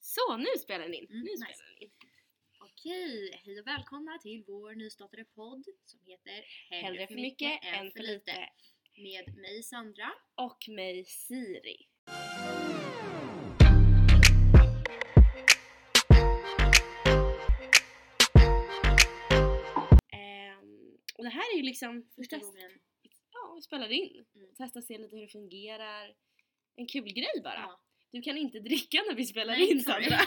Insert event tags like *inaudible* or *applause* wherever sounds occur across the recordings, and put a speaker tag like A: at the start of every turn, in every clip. A: Så, nu spelar den in.
B: Mm,
A: nu
B: nice.
A: spelar den in.
B: Okej, hej och välkomna till vår nystartade podd som heter
A: Hellre för mycket än för lite.
B: Med mig Sandra.
A: Och mig Siri. Ehm, och det här är ju liksom
B: Första
A: vi test-
B: gången.
A: Ja, vi spelar in.
B: Mm.
A: Testa se lite hur det fungerar. En kul grej bara.
B: Ja.
A: Du kan inte dricka när vi spelar
B: Nej,
A: in
B: sorry.
A: Sandra.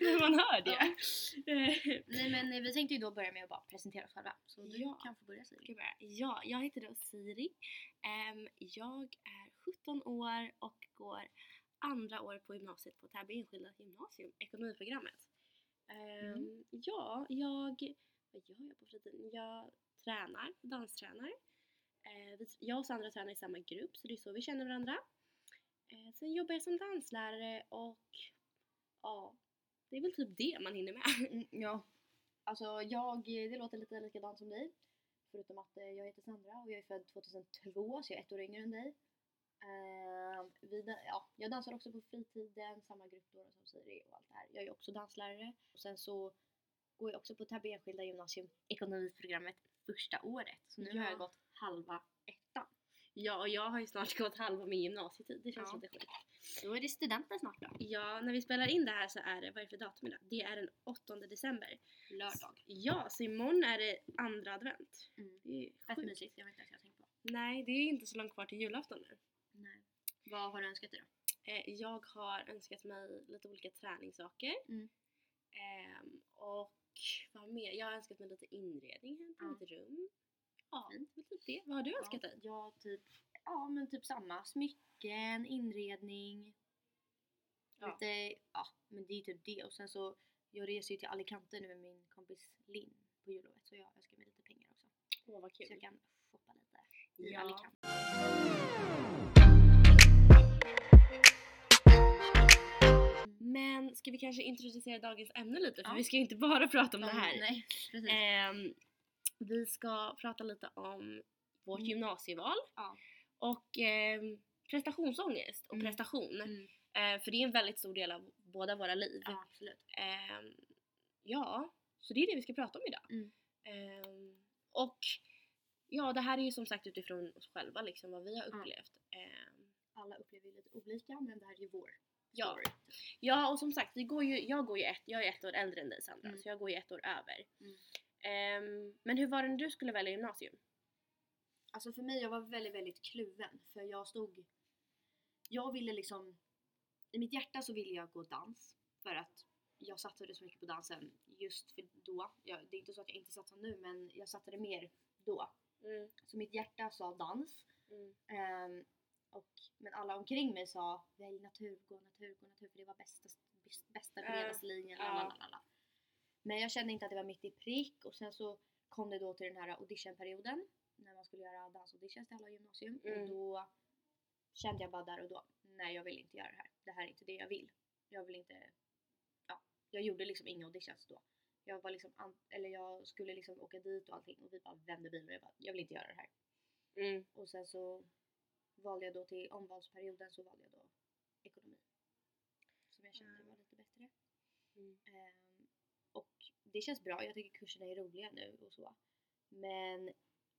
A: Men man hör det.
B: Ja.
A: Eh,
B: *laughs* Nej men eh, vi tänkte ju då börja med att bara presentera oss själva. Så du
A: Ja.
B: kan få börja Siri.
A: ska jag börja? Ja, jag heter då Siri. Ehm, jag är 17 år och går andra året på gymnasiet på Täby enskilda gymnasium, ekonomiprogrammet. Ehm,
B: Mm.
A: Ja, jag... Vad gör jag på fritiden? Jag tränar, danstränar. Eh, vi- jag och Sandra tränar i samma grupp så det är så vi känner varandra. Eh, sen jobbar jag som danslärare och ja, det är väl typ det man hinner med.
B: Mm, ja. Alltså jag, det låter lite likadant som dig. Förutom att eh, jag heter Sandra och jag är född 2002 så jag är ett år yngre än dig. Ehm, vi, da- ja, jag dansar också på fritiden, samma grupp då som Siri och allt det här. Jag är också danslärare. Och sen så går jag också på Täby enskilda gymnasium, ekonomiprogrammet, första året. Så nu har
A: Ja.
B: jag gått halva ettan.
A: Ja, och jag har ju snart *laughs* gått halva min gymnasietid. Det känns
B: Ja.
A: lite sjukt.
B: Då är det studenten snart då.
A: Ja, när vi spelar in det här så är det, vad är det för datum idag? Det är den 8 december.
B: Lördag.
A: Ja, så imorgon är det andra advent.
B: Mm.
A: Det är
B: Fett
A: sjukt.
B: mysigt, jag vet inte ens jag tänkte på.
A: Nej, det är inte så långt kvar till julafton nu.
B: Nej. Vad har du önskat dig då?
A: Eh, jag har önskat mig lite olika träningssaker.
B: Mm.
A: Ehm, och vad mer? Jag har önskat mig lite inredning hem till
B: Ja.
A: mitt rum. Ja,
B: Fint.
A: det är typ det. Vad har du önskat
B: ja,
A: dig?
B: Ja, typ, ja, men typ samma. Smycken, inredning.
A: Ja.
B: Lite, ja, men det är typ det. Och sen så, jag reser ju till Alicante nu med min kompis Linn på jullovet så jag önskar mig lite pengar också.
A: Åh, vad
B: Så jag
A: kul.
B: kan shoppa lite i
A: Ja.
B: Alicante.
A: Men ska vi kanske introducera dagens ämne lite? För
B: Ja.
A: vi ska ju inte bara *laughs* prata om det här.
B: Nej, precis.
A: Ehm, vi ska prata lite om vårt
B: Mm.
A: gymnasieval
B: Ja.
A: och ehm, prestationsångest och
B: Mm.
A: prestation.
B: Mm.
A: Eh, för det är en väldigt stor del av båda våra liv.
B: Ja, absolut.
A: Ehm, ja, så det är det vi ska prata om idag.
B: Mm.
A: Ehm, och ja, det här är ju som sagt utifrån oss själva, liksom vad vi har
B: Ja.
A: upplevt. Ehm,
B: Alla upplever ju lite olika men det här är ju vår
A: ja.
B: story.
A: ja, och som sagt, vi går ju, jag, går ju ett, jag är ett år äldre än dig Sandra,
B: Mm.
A: så jag går ju ett år över.
B: Mm.
A: Ehm, men hur var det när du skulle välja gymnasium?
B: Alltså för mig, jag var väldigt, väldigt kluven. För jag stod... Jag ville liksom... I mitt hjärta så ville jag gå dans. För att jag satsade så mycket på dansen just för då. Jag, det är inte så att jag inte satsar nu, men jag satsade mer då.
A: Mm,
B: Så mitt hjärta sa dans.
A: mm.
B: Ehm, och, men alla omkring mig sa välj natur, gå natur, gå natur för det var bästa, bästa
A: Ja,
B: bredaste linjen.
A: ja.
B: lalalala. Men jag kände inte att det var mitt i prick och sen så kom det då till den här auditionperioden när man skulle göra dansauditions till alla gymnasium
A: Mm.
B: och då kände jag bara där och då nej jag vill inte göra det här. Det här är inte det jag vill. Jag vill inte, ja, jag gjorde liksom inga auditions då. Jag var liksom, an- eller jag skulle liksom åka dit och allting och vi bara vände bilen och jag bara jag vill inte göra det här.
A: Mm.
B: Och sen så valde jag då till omvalsperioden så valde jag då ekonomi. Som jag kände
A: Mm.
B: var lite bättre.
A: Mm.
B: Ehm, och det känns bra, jag tycker kurserna är roliga nu och så. Men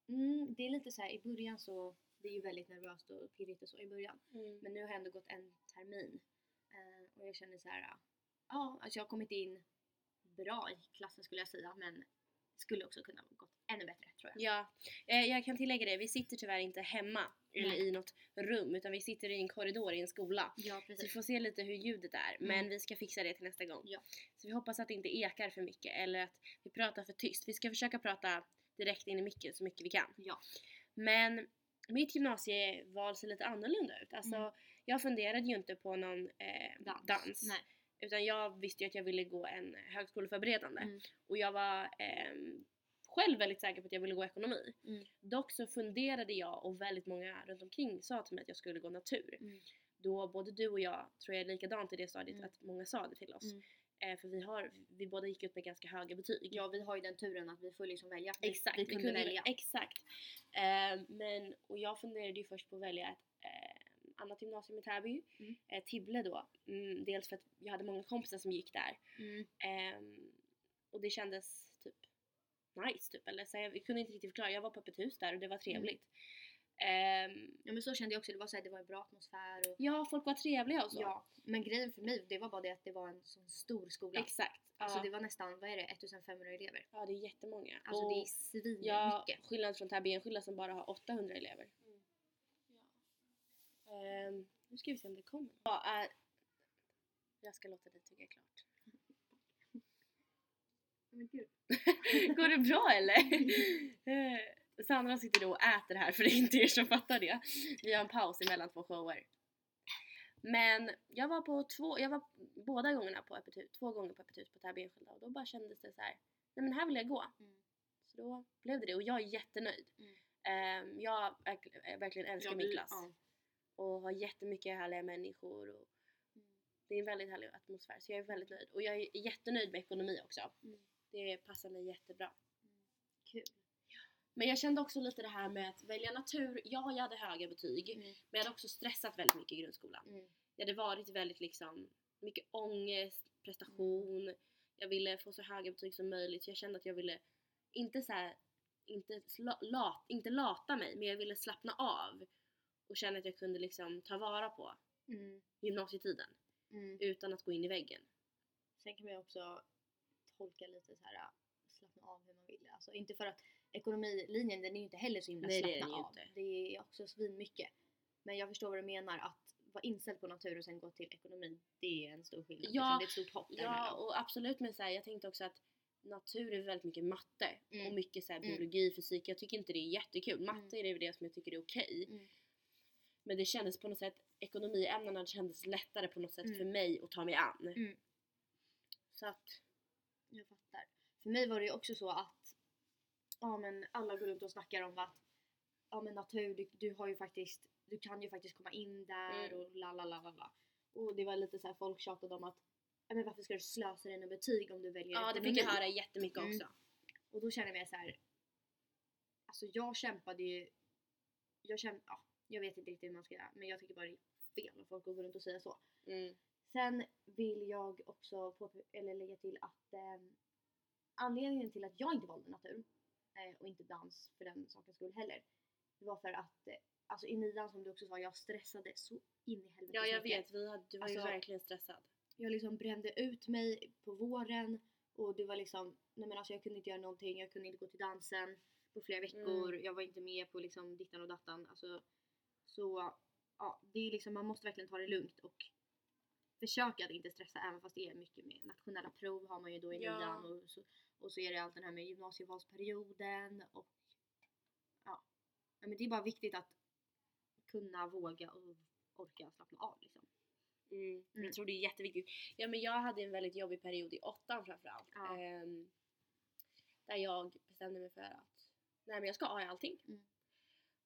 B: mm, det är lite så här i början så, det är ju väldigt nervöst och pirrigt och så i början. Men nu har jag ändå gått en termin. Eh, och jag känner så här, ja, ja, alltså jag har kommit in bra i klassen skulle jag säga men skulle också kunna ha gått ännu bättre tror jag.
A: Ja, eh, jag kan tillägga det. Vi sitter tyvärr inte hemma eller
B: Nej.
A: i något rum utan vi sitter i en korridor i en skola.
B: Ja
A: Så vi får se lite hur ljudet är men vi ska fixa det till nästa gång.
B: Mm. Ja.
A: Så vi hoppas att det inte ekar för mycket eller att vi pratar för tyst. Vi ska försöka prata direkt in i micken så mycket vi kan.
B: Ja.
A: Men mitt gymnasieval ser lite annorlunda ut. Alltså,
B: Mm.
A: Jag funderade ju inte på någon eh,
B: Dans.
A: dans.
B: Nej.
A: Utan jag visste ju att jag ville gå en högskoleförberedande.
B: Mm.
A: Och jag var ehm, själv väldigt säker på att jag ville gå ekonomi.
B: Mm.
A: Dock så funderade jag och väldigt många runt omkring sa till mig att jag skulle gå natur.
B: Mm.
A: Då både du och jag tror jag är likadant i det stadiet
B: Mm.
A: att många sa det till oss.
B: Mm.
A: Eh, för vi, har, vi båda gick ut med ganska höga betyg.
B: Ja, vi har ju den turen att vi får liksom välja. Vi-
A: Exakt,
B: vi kunde, välja.
A: Exakt. Eh, men, och jag funderade ju först på att välja ett eh, annat gymnasium i Täby,
B: Mm.
A: eh, Tibble då. Mm, dels för att jag hade många kompisar som gick där.
B: Mm.
A: Ehm, och det kändes typ nice typ. Eller så jag, jag kunde inte riktigt förklara. Jag var på öppet hus där och det
B: Mm.
A: var trevligt. Ehm,
B: Ja men så kände jag också, det var, så här, det var en bra atmosfär och
A: ja, folk var trevliga och så.
B: Ja, men grejen för mig det var bara det att det var en sån stor skola.
A: Exakt.
B: Alltså
A: ja.
B: det var nästan, vad är det, 1500 elever.
A: ja, det är jättemånga.
B: Alltså
A: och
B: det är svinmycket.
A: ja,
B: mycket.
A: skillnad från Täby enskilda som bara har 800 elever. Ehm, nu ska vi se om det kommer. Ja, eh, jag ska låta dig tugga klart.
B: Men gud.
A: *laughs* Går det bra
B: *laughs*
A: eller? Eh, Sandra sitter då och äter här för det är inte er som fattar det. Vi har en paus emellan två shower. Men jag var på två, jag var båda gångerna på öppet hus, två gånger på öppet hus på Täby enskilda och då bara kändes det så här. nej men här vill jag gå.
B: Mm.
A: Så då blev det det och jag är jättenöjd.
B: Mm.
A: Ehm, jag verk, eh, verkligen älskar min klass
B: Ja.
A: och har jättemycket härliga människor och
B: Mm.
A: det är en väldigt härlig atmosfär så jag är väldigt nöjd och jag är jättenöjd med ekonomi också.
B: Mm.
A: Det passar mig jättebra.
B: Kul.
A: Men jag kände också lite det här med att välja natur. Ja, jag hade höga betyg.
B: Mm.
A: Men jag hade också stressat väldigt mycket i grundskolan.
B: Mm.
A: Jag hade varit väldigt liksom, mycket ångest,
B: Mm.
A: prestation. Jag ville få så höga betyg som möjligt. Så jag kände att jag ville, inte så här, inte, sla, lat, inte lata mig, men jag ville slappna av. Och känna att jag kunde liksom ta vara på
B: Mm.
A: gymnasietiden.
B: Mm.
A: Utan att gå in i väggen.
B: Sen kan man ju också tolka lite så här äh, slappna av hur man vill. Alltså inte för att ekonomilinjen den är ju inte heller så himla
A: Nej, det är
B: slappna
A: den ju
B: av.
A: inte.
B: Det är också svinmycket. Men jag förstår vad du menar att vara inställd på natur och sen gå till ekonomi det är en stor skillnad.
A: Ja,
B: liksom. det är ett stort hopp
A: Ja, och absolut men så här, jag tänkte också att natur är väldigt mycket matte
B: Mm.
A: och mycket så här,
B: Mm.
A: biologi, fysik. Jag tycker inte det är jättekul. Matte är det som jag tycker är okej.
B: Mm.
A: Men det kändes på något sätt, ekonomiämnena kändes lättare på något sätt
B: Mm.
A: för mig att ta mig an.
B: Mm.
A: Så att,
B: Jag fattar. För mig var det ju också så att ja, men alla går runt och snackar om att ja, men natur, du, du, har ju faktiskt, du kan ju faktiskt komma in där
A: Mm.
B: och la la la la la. Och det var lite så här folk tjatade om att ja, men varför ska du slösa dina betyg om du väljer
A: ja det
B: ekonomi?
A: fick jag höra jättemycket
B: Mm.
A: också.
B: Och då kände jag mig så här. Alltså jag kämpade ju. Jag kämpade, ja, jag vet inte riktigt hur man ska göra men jag tycker bara det är fel att folk går runt och säger så.
A: Mm.
B: Sen vill jag också på, eller lägga till att eh, anledningen till att jag inte valde natur eh, och inte dans för den sakens skull heller. Det var för att eh, alltså i nian som du också sa, jag stressade så in i helvete
A: Ja
B: så
A: jag
B: mycket.
A: vet, vi hade, du var ju
B: Alltså-
A: verkligen stressad.
B: Jag liksom brände ut mig på våren och det var liksom, nej men alltså jag kunde inte göra någonting, jag kunde inte gå till dansen på flera
A: Mm.
B: veckor, jag var inte med på liksom dittan och dattan. Alltså, så ja, det är liksom, man måste verkligen ta det lugnt och försöka att inte stressa även fast det är mycket med nationella prov har man ju då i
A: Ja.
B: nian och så, och så är det allt den här med gymnasievalsperioden och ja. ja men det är bara viktigt att kunna våga och orka slappna av liksom.
A: Mm.
B: Mm.
A: Jag tror det är jätteviktigt. Ja, men jag hade en väldigt jobbig period i åttan framförallt.
B: Ja.
A: Ehm, där jag bestämde mig för att nej, men jag ska ha i allting.
B: Mm.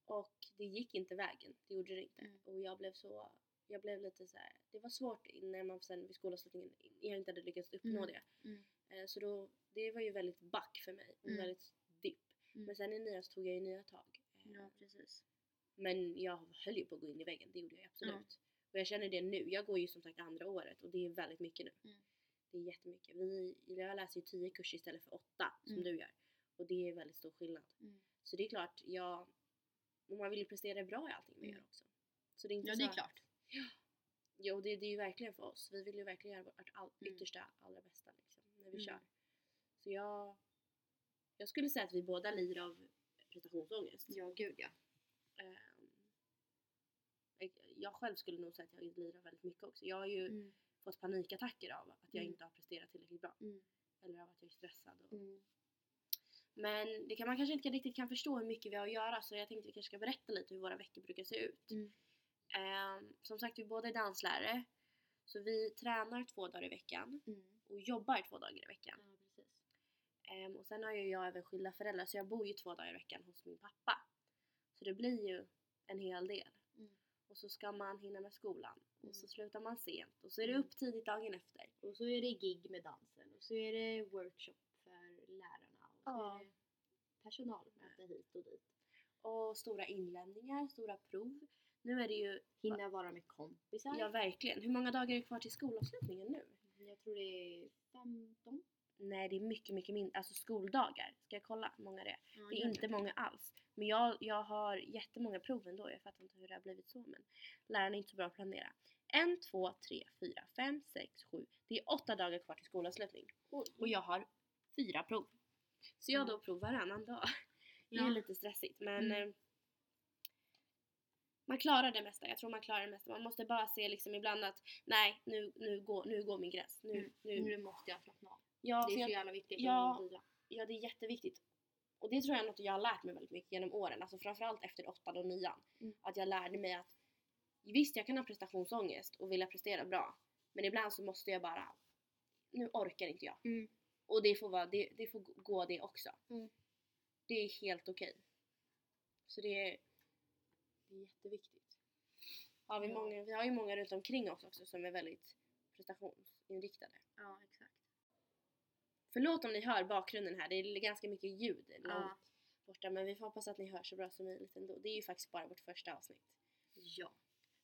A: Och det gick inte vägen. Det gjorde det inte.
B: Mm.
A: Och jag blev så... Jag blev lite så här, Det var svårt när man sen vid skolavslutningen jag inte hade lyckats uppnå
B: Mm.
A: det.
B: Mm.
A: Eh, Så då, det var ju väldigt back för mig. Och
B: Mm.
A: väldigt dipp.
B: Mm.
A: Men sen i nian så tog jag ju nya tag. Eh,
B: Ja precis.
A: men jag höll ju på att gå in i väggen, det gjorde jag absolut.
B: Mm.
A: Och jag känner det nu. Jag går ju som sagt andra året och det är väldigt mycket nu.
B: Mm.
A: Det är jättemycket. Vi, jag läser ju 10 kurser istället för åtta som
B: Mm.
A: du gör. Och det är väldigt stor skillnad.
B: Mm.
A: Så det är klart, jag, och man vill ju prestera bra i allting man
B: Mm.
A: gör också. Så det är inte
B: Ja
A: så
B: det är
A: att-
B: klart.
A: Ja, och det, det är ju verkligen för oss. Vi vill ju verkligen göra vårt all,
B: Mm.
A: yttersta, allra bästa liksom, när vi
B: Mm.
A: kör. Så jag, jag skulle säga att vi båda lider av prestationsångest.
B: Ja gud ja.
A: Ehm, jag- jag själv skulle nog säga att jag lider väldigt mycket också. Jag har ju
B: Mm.
A: fått panikattacker av att jag
B: Mm.
A: inte har presterat tillräckligt bra.
B: Mm.
A: Eller av att jag är stressad. Och...
B: Mm.
A: Men det kan, man kanske inte riktigt kan förstå hur mycket vi har att göra så jag tänkte vi kanske ska berätta lite hur våra veckor brukar se ut.
B: Mm.
A: Ehm, som sagt, vi båda är danslärare. Så vi tränar två dagar i veckan
B: mm.
A: och jobbar två dagar i veckan.
B: Ja precis.
A: Ehm, och sen har ju jag även skilda föräldrar så jag bor ju två dagar i veckan hos min pappa. Så det blir ju en hel del.
B: Mm.
A: Och så ska man hinna med skolan
B: Mm.
A: och så slutar man sent och så är det
B: Mm.
A: upp tidigt dagen efter.
B: Och så är det gig med dansen och så är det workshop för lärarna och så
A: Ja.
B: är det personalmöte hit och dit.
A: Och stora inlämningar, stora prov. Nu är det ju,
B: Hinna vara med kompisar. Mm,
A: ja verkligen. Hur många dagar är det kvar till skolavslutningen nu?
B: Jag tror det är 15.
A: Nej det är mycket, mycket mindre. Alltså skoldagar. Ska jag kolla hur många det är?
B: Ja,
A: Det
B: gör
A: är inte många alls. Men jag, jag har jättemånga prov ändå. Jag fattar inte hur det har blivit så men lärarna är inte så bra på att planera. En, två, tre, fyra, fem, sex, sju. Det är åtta dagar kvar till skolavslutning. Och jag har fyra prov. Så jag har då prov varannan dag. *laughs* Det
B: Ja.
A: är lite stressigt men
B: Mm.
A: eh, man klarar det mesta. Jag tror man klarar det mesta. Man måste bara se liksom ibland att nej nu, nu, går, nu går min gräns. Nu,
B: Mm.
A: nu.
B: Nu måste jag slappna av.
A: Ja, för
B: det är
A: jag,
B: så jävla viktigt.
A: ja.
B: att vila.
A: ja det är jätteviktigt. Och det tror jag är något jag har lärt mig väldigt mycket genom åren. Alltså framförallt efter åttan och nian.
B: Mm.
A: Att jag lärde mig att visst jag kan ha prestationsångest och vilja prestera bra. Men ibland så måste jag bara, nu orkar inte jag.
B: Mm.
A: Och det får, vara, det, det får gå det också.
B: Mm.
A: Det är helt okej. Så det är, det är jätteviktigt. Har vi,
B: Ja.
A: många, vi har ju många runt omkring oss också som är väldigt prestationsinriktade.
B: ja, exakt.
A: Förlåt om ni hör bakgrunden här, det är ganska mycket ljud långt
B: Ja.
A: borta men vi får hoppas att ni hör så bra som möjligt ändå. Det är ju faktiskt bara vårt första avsnitt.
B: ja.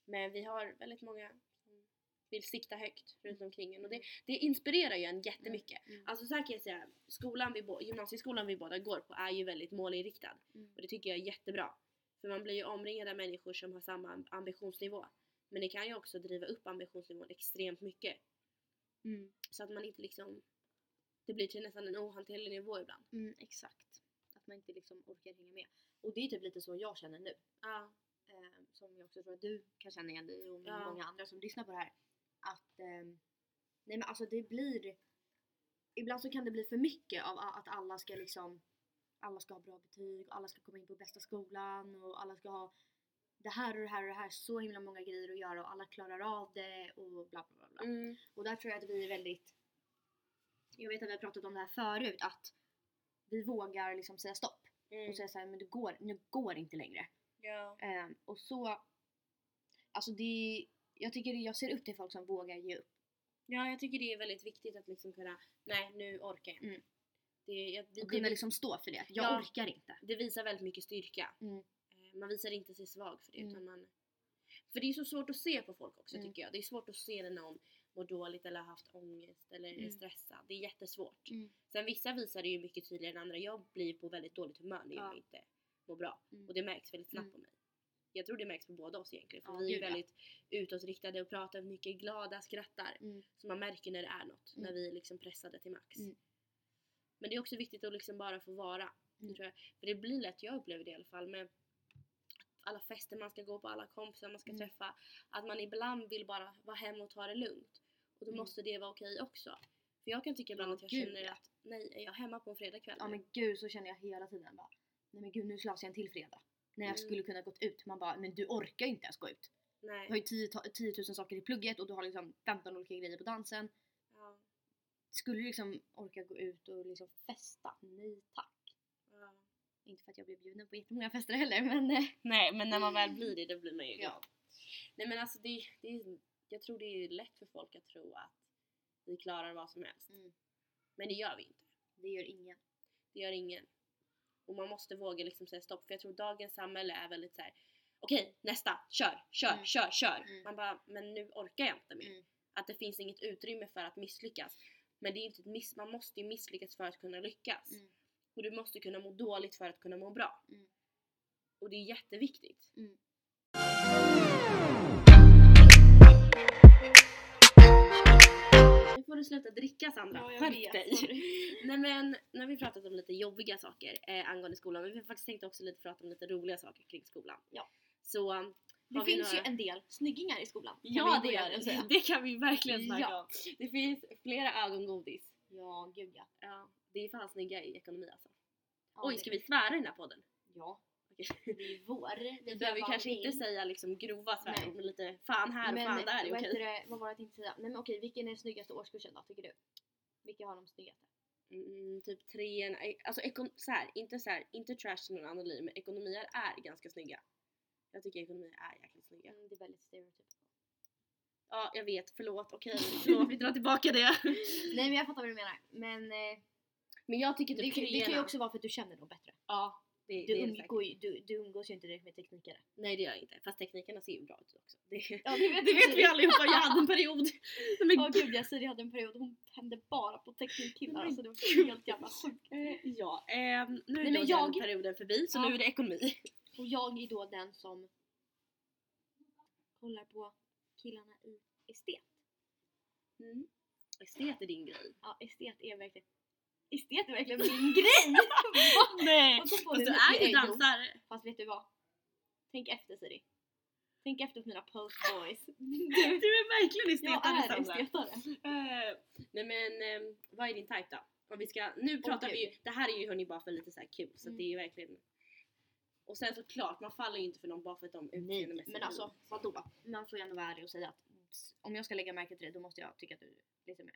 A: Men vi har väldigt många som vill sikta högt runt omkring en och det, det inspirerar ju en jättemycket.
B: Mm.
A: Alltså så här kan jag säga, skolan vi bå- gymnasieskolan vi båda går på är ju väldigt målinriktad
B: Mm.
A: och det tycker jag är jättebra. För man blir ju omringad av människor som har samma amb- ambitionsnivå. Men det kan ju också driva upp ambitionsnivån extremt mycket
B: Mm.
A: så att man inte liksom det blir till nästan en ohanterlig nivå ibland.
B: Mm, exakt. Att man inte liksom orkar hänga med. Och det är typ lite så jag känner nu.
A: Ja,
B: Eh, som jag också tror att du kan känna igen dig i och
A: Ja.
B: många andra som lyssnar på det här. Att ehm, nej men alltså det blir ibland så kan det bli för mycket av a- att alla ska liksom alla ska ha bra betyg och alla ska komma in på bästa skolan och alla ska ha det här och det här och det här så himla många grejer att göra och alla klarar av det och bla bla bla. bla.
A: mm.
B: Och där tror jag att vi är väldigt jag vet att vi har pratat om det här förut att vi vågar liksom säga stopp
A: Mm.
B: och säga såhär men det går, nu går det inte längre.
A: ja.
B: Ehm, och så, alltså det, jag tycker det, jag ser upp till folk som vågar ge upp.
A: ja, jag tycker det är väldigt viktigt att liksom kunna, nej nu orkar jag inte.
B: Mm.
A: Det, jag, det,
B: Och
A: det,
B: kunna liksom stå för det, att jag
A: Ja.
B: orkar inte.
A: det visar väldigt mycket styrka.
B: Mm.
A: Eh, Man visar inte sig svag för det
B: Mm.
A: utan man... För det är så svårt att se på folk också
B: Mm.
A: tycker jag. Det är svårt att se när någon mår dåligt eller har haft ångest eller är
B: Mm.
A: stressad. Det är jättesvårt.
B: Mm.
A: Sen vissa visar det ju mycket tydligare än andra. Jag blir på väldigt dåligt humör när jag
B: Ja.
A: inte mår bra.
B: Mm.
A: Och det märks väldigt snabbt
B: Mm.
A: på mig. Jag tror det märks på båda oss egentligen. För
B: Ja,
A: vi är
B: gud, ja.
A: väldigt utåtriktade och pratar mycket, glada, skrattar.
B: Mm.
A: Så man märker när det är något,
B: Mm.
A: när vi är liksom pressade till max.
B: Mm.
A: Men det är också viktigt att liksom bara få vara. det
B: Mm.
A: Tror jag. För det blir lätt, jag upplever det i alla fall, med alla fester man ska gå på, alla kompisar man ska
B: Mm.
A: träffa. Att man ibland vill bara vara hemma och ta det lugnt. Och då
B: Mm.
A: måste det vara okej också. För jag kan tycka ibland
B: Ja,
A: att jag
B: gud,
A: känner
B: ja.
A: att nej, är jag hemma på en fredagkväll?
B: Ja men gud så känner jag hela tiden bara. Nej men gud nu slås jag en till fredag. När jag
A: Mm.
B: skulle kunna gått ut. Man bara, men du orkar ju inte ens gå ut. Du har
A: nej.
B: ju 10 ta- 10 000 saker i plugget och du har liksom 15 olika grejer på dansen.
A: Ja,
B: Skulle du liksom orka gå ut och liksom festa? Nej tack.
A: ja.
B: Inte för att jag blev bjuden på jättemånga fester heller men eh,
A: Nej men när man väl blir det, då blir man ju
B: Ja.
A: glad. Mm. Nej men alltså det, det är, jag tror det är lätt för folk att tro att vi klarar vad som helst.
B: Mm.
A: Men det gör vi inte.
B: det gör ingen.
A: Det gör ingen. Och man måste våga liksom säga stopp för jag tror dagens samhälle är väldigt så här. okej nästa, kör, kör,
B: Mm.
A: kör, kör.
B: Mm.
A: Man bara, men nu orkar jag inte mer.
B: Mm.
A: Att det finns inget utrymme för att misslyckas. Men det är ju inte ett miss, man måste ju misslyckas för att kunna lyckas.
B: Mm.
A: Och du måste kunna må dåligt för att kunna må bra.
B: Mm.
A: Och det är jätteviktigt.
B: Mm.
A: Nu får du sluta dricka Sandra, skärp dig! *laughs* Nej men nu har vi pratat om lite jobbiga saker eh, angående skolan men vi faktiskt tänkte också lite prata om lite roliga saker kring skolan.
B: Ja.
A: Så um,
B: Det
A: Har vi
B: finns ju
A: några-
B: en del snyggingar i skolan. kan
A: ja
B: vi
A: det
B: börja
A: gör
B: med att
A: det.
B: säga.
A: *laughs* Det kan vi verkligen snacka
B: Ja.
A: om. Det finns flera ögongodis.
B: Ja, gud ja.
A: Ja, det är fan snygga i ekonomi alltså.
B: ja
A: Oj
B: det-
A: ska vi svära i den här podden?
B: Ja,
A: *laughs* Okej.
B: det är vår.
A: Vi
B: får
A: behöver
B: göra
A: kanske
B: vad vi
A: inte
B: vill.
A: säga liksom grova svärord
B: Nej.
A: men lite fan här och
B: Men,
A: fan där är
B: vad,
A: okej.
B: heter det, vad var det jag tänkte säga? Nej men okej, vilken är den snyggaste årskursen då tycker du? Vilka har de snyggaste?
A: Mm, typ trean, alltså ekon- så här, inte så här, inte trash till någon annan liv men ekonomier är ganska snygga. Jag tycker ekonomier är jäkligt snygga.
B: Mm, det är väldigt stereotypt.
A: Ja, jag vet. Förlåt. Okej, förlåt. Vi drar tillbaka *laughs* det.
B: Nej men jag fattar vad du menar. Men eh,
A: Men jag tycker
B: det,
A: typ
B: kan- det kan ju
A: treorna-
B: också vara för att du känner dem bättre.
A: Ja, Det,
B: Du,
A: det är det
B: umgår,
A: säkert.
B: ju- du, du umgås ju inte direkt med teknikare.
A: Nej det gör jag inte. Fast teknikerna ser ju bra ut också. Det,
B: Ja, det
A: *laughs* det vet vi allihopa, jag hade en *laughs* period. Nej, men
B: Åh gud, jag Siri hade en period hon tände bara på teknikkillar.
A: Men
B: Alltså det
A: gud.
B: var helt jävla sjukt.
A: Eh, ja, ehm, nu är
B: Nej, men
A: då
B: jag-
A: den perioden förbi så
B: Ja.
A: nu är det ekonomi.
B: Och jag är då den som kollar på killarna i estet.
A: Mm. Estet är din grej.
B: Ja, estet är verkligen... Estet är verkligen *laughs* min grej! Va?
A: Nej!
B: Och så får
A: Fast du är
B: en
A: ju
B: uppgift.
A: dansare.
B: Fast vet du vad? Tänk efter Siri. Tänk efter mina postboys. Du,
A: Du är verkligen
B: jag
A: estetare
B: är
A: Sandra.
B: estetare.
A: Eh, nej men ehm, vad är din type då? Om vi ska, nu pratar vi ju, det här är ju hörni bara för lite så här kul så
B: Mm.
A: det är ju verkligen och sen såklart, man faller ju inte för någon bara för att de
B: Nej,
A: utseendemässigt
B: men alltså vadå? Man får ju ändå vara ärlig och säga att om jag ska lägga märke till dig då måste jag tycka att du är lite mer...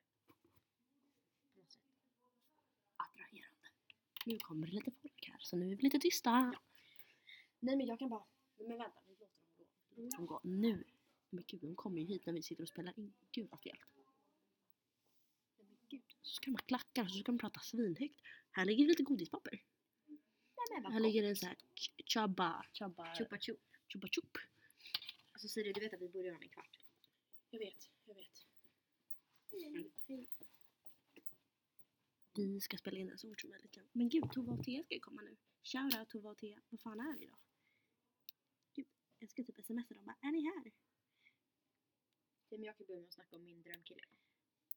B: på något sätt Attraherande.
A: Nu kommer det lite folk här så nu är vi lite tysta.
B: Nej men jag kan bara...
A: Nej, men vänta, vi låter dem gå. Vi låter dem gå nu. Men gud, de kommer ju hit när vi sitter och spelar in. Gud vad fel.
B: Nej men gud.
A: Så ska de ha klackar och så ska de prata svinhögt. Här ligger det lite godispapper.
B: Nej men
A: Här ligger det en sån här ch- chubba, chubba,
B: Chupa chup.
A: chubba chup.
B: Alltså Siri du vet att vi börjar om en kvart.
A: Jag vet, jag vet.
B: Mm.
A: Vi ska spela in det så fort som möjligt. ja. Men gud, Tova och Thea ska ju komma nu. Shoutout Tova och Thea. Vad fan är det idag? Gud, jag ska typ smsa dem bara, är ni här?
B: Typ, Men jag kan börja med att snacka om min drömkille.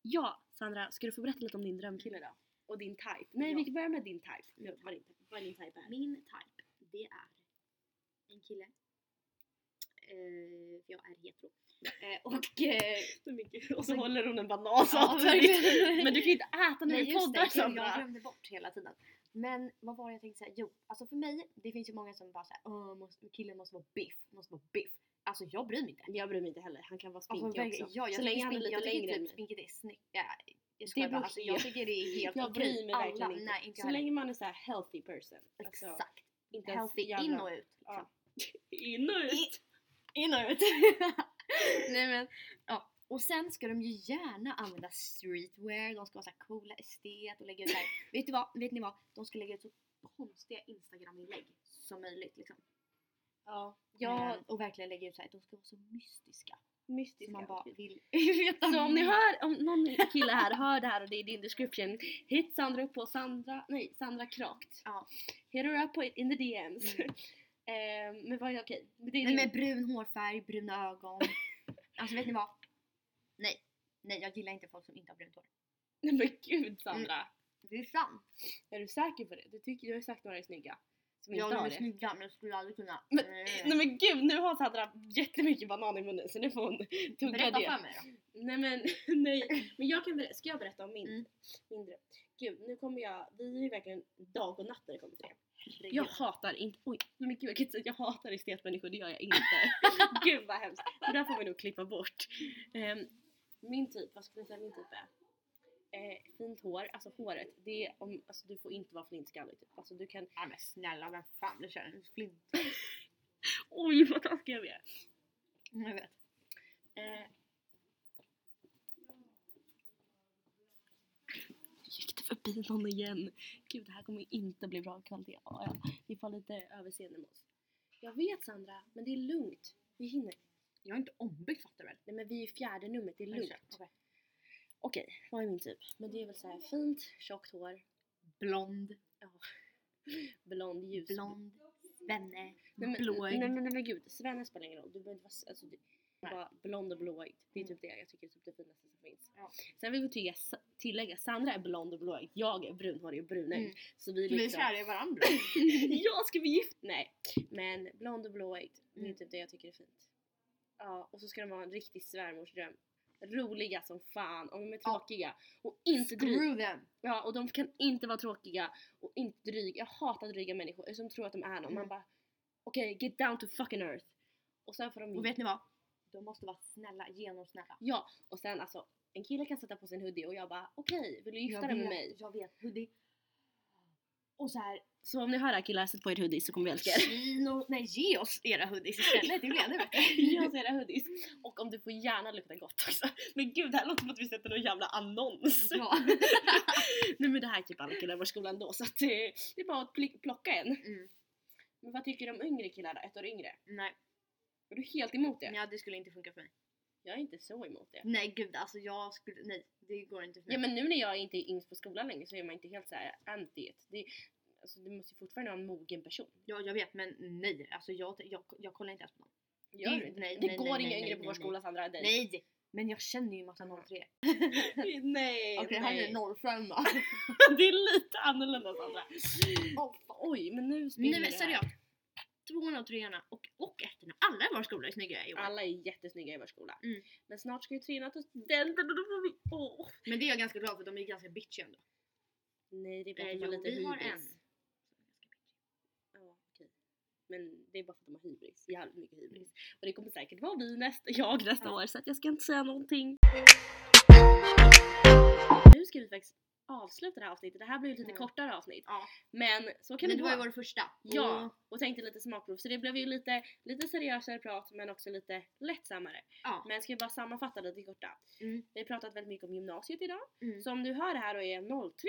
A: Ja, Sandra, ska du få berätta lite om din drömkille då? Och din type. Nej,
B: Ja.
A: vi börjar med din type. Nu, vad, din, vad din type är.
B: Min type, det är en kille. Eh, jag är hetero. Eh, och... Eh,
A: Och så håller hon en banan
B: ja, verkligen.
A: Men du kan ju inte äta när
B: Nej
A: vi
B: just det,
A: poddar
B: gud, jag
A: Sandra.
B: glömde bort hela tiden. Men vad var det jag tänkte säga? Jo, alltså för mig, det finns ju många som bara säger åh måste, killen måste vara biff, måste vara biff. Alltså jag bryr mig inte.
A: Jag bryr mig inte heller, han kan vara
B: Alltså,
A: spinkig
B: verkligen,
A: också.
B: ja, jag
A: så
B: tycker
A: länge han är
B: spink-
A: lite
B: jag tycker
A: längre än
B: typ
A: mig.
B: spinkigt är snyggt. Ja, jag skojar bara.
A: borde-
B: Alltså, *laughs* jag tycker det är helt
A: Jag bryr mig
B: Alla-
A: verkligen inte.
B: Nej, inte
A: Så
B: jag heller.
A: länge man är såhär healthy person. Alltså,
B: Exakt.
A: inte ens
B: Healthy
A: jävla-
B: in och ut.
A: Ja.
B: Liksom.
A: In och ut.
B: In och ut. *laughs* Nej men, ja. Och sen ska de ju gärna använda streetwear, de ska vara så här coola estet och lägga ut *laughs* där. vet, du vad, vet ni vad? De ska lägga ut så konstiga instagram-inlägg som möjligt liksom.
A: Ja,
B: Ja,
A: ja
B: och verkligen lägga ut så här, de ska vara så mystiska.
A: mystiska.
B: Så man bara vill *laughs* veta
A: Så om ni
B: mer.
A: hör, om
B: *laughs*
A: någon kille här hör det här och det är din description, hit Sandra upp på Sandra, nej Sandra Krakt.
B: Ja.
A: Hit her up på in the DMs.
B: Mm.
A: *laughs* Ehm, men vad är okej? Men det är
B: Nej
A: din-
B: men brun hårfärg, bruna *laughs* ögon. alltså vet ni vad? Nej. Nej jag gillar inte folk som inte har brunt hår.
A: Nej men gud Sandra!
B: Mm. Det är sant.
A: Är du säker på det? Du, tycker, du har ju sagt några är snygga. Som
B: Jag
A: inte har
B: är
A: det.
B: snygga men jag skulle aldrig kunna... Mm.
A: Men-
B: Nej.
A: Nej men gud nu har Sandra jättemycket banan i munnen så nu får hon tugga
B: Berätta
A: det.
B: för mig då.
A: Nej men *laughs* nej. Men jag kan berätta, ska jag berätta om min?
B: Mm.
A: Min dröm? Gud nu kommer jag, vi är ju verkligen dag och natt när det kommer till det. Jag hatar inte, oj men gud jag kan inte säga att jag hatar estetmänniskor, det gör jag inte. *laughs* gud vad hemskt. Det där får vi nog klippa bort. Ehm, min typ, vad skulle jag säga min typ är? Eh, fint hår, alltså håret, det är om, alltså du får inte vara flintskallig typ. Alltså du kan,
B: Ja, men snälla vem fan vill köra en flint?
A: oj vad taskig jag blev.
B: Mm, Jag vet.
A: Eh. Gick det förbi någon igen? Gud, det här kommer inte bli bra kvalitet. Ja, ja. Ni får lite överseende med oss. Jag vet Sandra, men det är lugnt. Vi hinner.
B: Jag är inte ombyggd fattar du väl?
A: Nej men vi är i fjärde numret, det är lugnt.
B: Ursäkta, okej.
A: Okej, vad är min typ? Men det är väl så här fint, tjockt hår,
B: Blond,
A: blond, ljus.
B: blond, svenne,
A: Nej men, nej,
B: blåögd.
A: nej, nej, men gud, svenne spelar ingen roll. Du behöver inte vara, s- alltså, du, bara blond och blåögd. Det är
B: Mm.
A: typ det jag tycker är typ det finaste som finns.
B: Ja.
A: Sen vill vi tyga, tillägga, Sandra är blond och blåögd, jag är brunhårig och brunögd.
B: Mm.
A: Så vi
B: Vi är
A: liksom...
B: kära i varandra.
A: *laughs* ja, ska vi gifta Nej, men blond och blåögd, det är
B: Mm.
A: typ det jag tycker är fint. Ja, och så ska de vara en riktig svärmorsdröm. Roliga som fan, och de är tråkiga. Och inte dryga.
B: Screw them.
A: Ja, och de kan inte vara tråkiga och inte dryga. Jag hatar dryga människor eh, som tror att de är någon. Man
B: Mm.
A: bara okej, get down to fucking earth. Och sen får de
B: Och vet ni vad? De måste vara snälla, genomsnälla.
A: Ja, och sen alltså en kille kan sätta på sin hoodie och jag bara okej, vill du gifta
B: Jag
A: dig med
B: vet,
A: mig?
B: Jag vet. Hoodie. Och så här.
A: Så om ni hör det här killar, sätt på er hoodie så kommer vi älska *laughs* er.
B: Kino. Nej ge oss era hoodies istället. Det blir ännu
A: *laughs*
B: *laughs* bättre.
A: Jag ser era hoodies. Mm. Och om du får gärna lukta gott också. Men gud det här låter som att vi sätter någon jävla annons. *laughs*
B: *laughs* Ja.
A: Nej men det här är typ alla killar i vår skola ändå så att eh, det är bara att pli- plocka en.
B: Mm.
A: Men vad tycker du om yngre killar då? Ett år yngre?
B: Nej,
A: Är du helt emot det?
B: ja, det skulle inte funka för mig.
A: Jag är inte så emot det.
B: Nej gud alltså jag skulle, nej det går inte för mig.
A: Ja men nu när jag inte är yngst på skolan längre så är man inte helt så här anti det. det. Alltså du måste ju fortfarande vara en mogen person.
B: ja, jag vet men nej, alltså jag, jag, jag kollar inte ens på någon.
A: Gör
B: Det-
A: du inte?
B: nej,
A: det
B: nej,
A: går
B: nej,
A: inga
B: nej,
A: yngre
B: nej,
A: på vår
B: nej,
A: skola Sandra. dig.
B: Nej! Men jag känner ju massa 03.
A: nej, *laughs* nej.
B: Okej
A: *laughs*
B: han är norrfrön då.
A: det är lite annorlunda Sandra.
B: *laughs* Åh,
A: Oj men nu spinner
B: Nu
A: det här.
B: seriöst. Tvåan och treorna och, och ettorna, alla i vår skola är snygga i år.
A: Alla är jättesnygga i vår skola.
B: Mm.
A: Men snart ska ju trean att den *laughs* och då får vi... Åh!
B: Men det är jag ganska glad för, de är ganska bitchy ändå.
A: Nej det är bara
B: Eh,
A: för att de har lite
B: jo, vi har en.
A: hybris. Ja, okej. Men det är bara för att de har hybris. Jävligt mycket hybris.
B: Mm.
A: Och det kommer säkert vara vi nästa, *laughs* jag nästa
B: Ja.
A: år så att jag ska inte säga någonting. Nu ska vi faktiskt avsluta det här avsnittet. Det här blir ju lite
B: Mm.
A: kortare avsnitt.
B: Ja.
A: Men så kan
B: Men
A: det
B: det
A: vara.
B: var ju vår första.
A: Ja,
B: Och,
A: och tänkte lite smakprov. Så det blev ju lite, lite seriösare prat men också lite lättsammare.
B: ja.
A: Men ska vi bara sammanfatta lite i korta.
B: Mm.
A: Vi har pratat väldigt mycket om gymnasiet idag.
B: Mm.
A: Så om du hör det här och är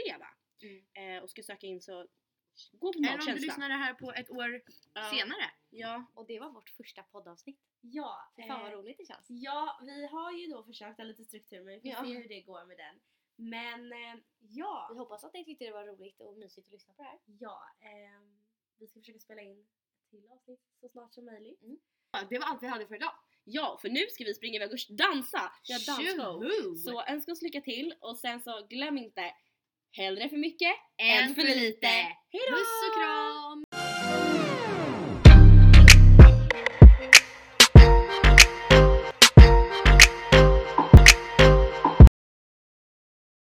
A: 03 va?
B: Mm.
A: Eh, och ska söka in så gå på
B: Eller om du
A: magkänslan.
B: lyssnar det här på ett år
A: Ja.
B: senare.
A: Ja.
B: Och det var vårt första poddavsnitt.
C: Ja, eh,
B: roligt det känns.
C: ja, vi har ju då försökt ha lite struktur men vi får
B: Ja.
C: se hur det går med den. Men eh, ja,
B: hoppas att ni tyckte det var roligt och mysigt att lyssna på det här.
C: ja ehm, vi ska försöka spela in ett till avsnitt så snart som möjligt.
B: Ja, det var allt vi hade för idag.
A: Mm. ja, för nu ska vi springa iväg och dansa! Vi har dansshow!
B: Tjoho!
A: Så önska oss lycka till och sen så glöm inte, hellre för mycket
B: en för lite!
A: Hejdå!
B: Puss och kram!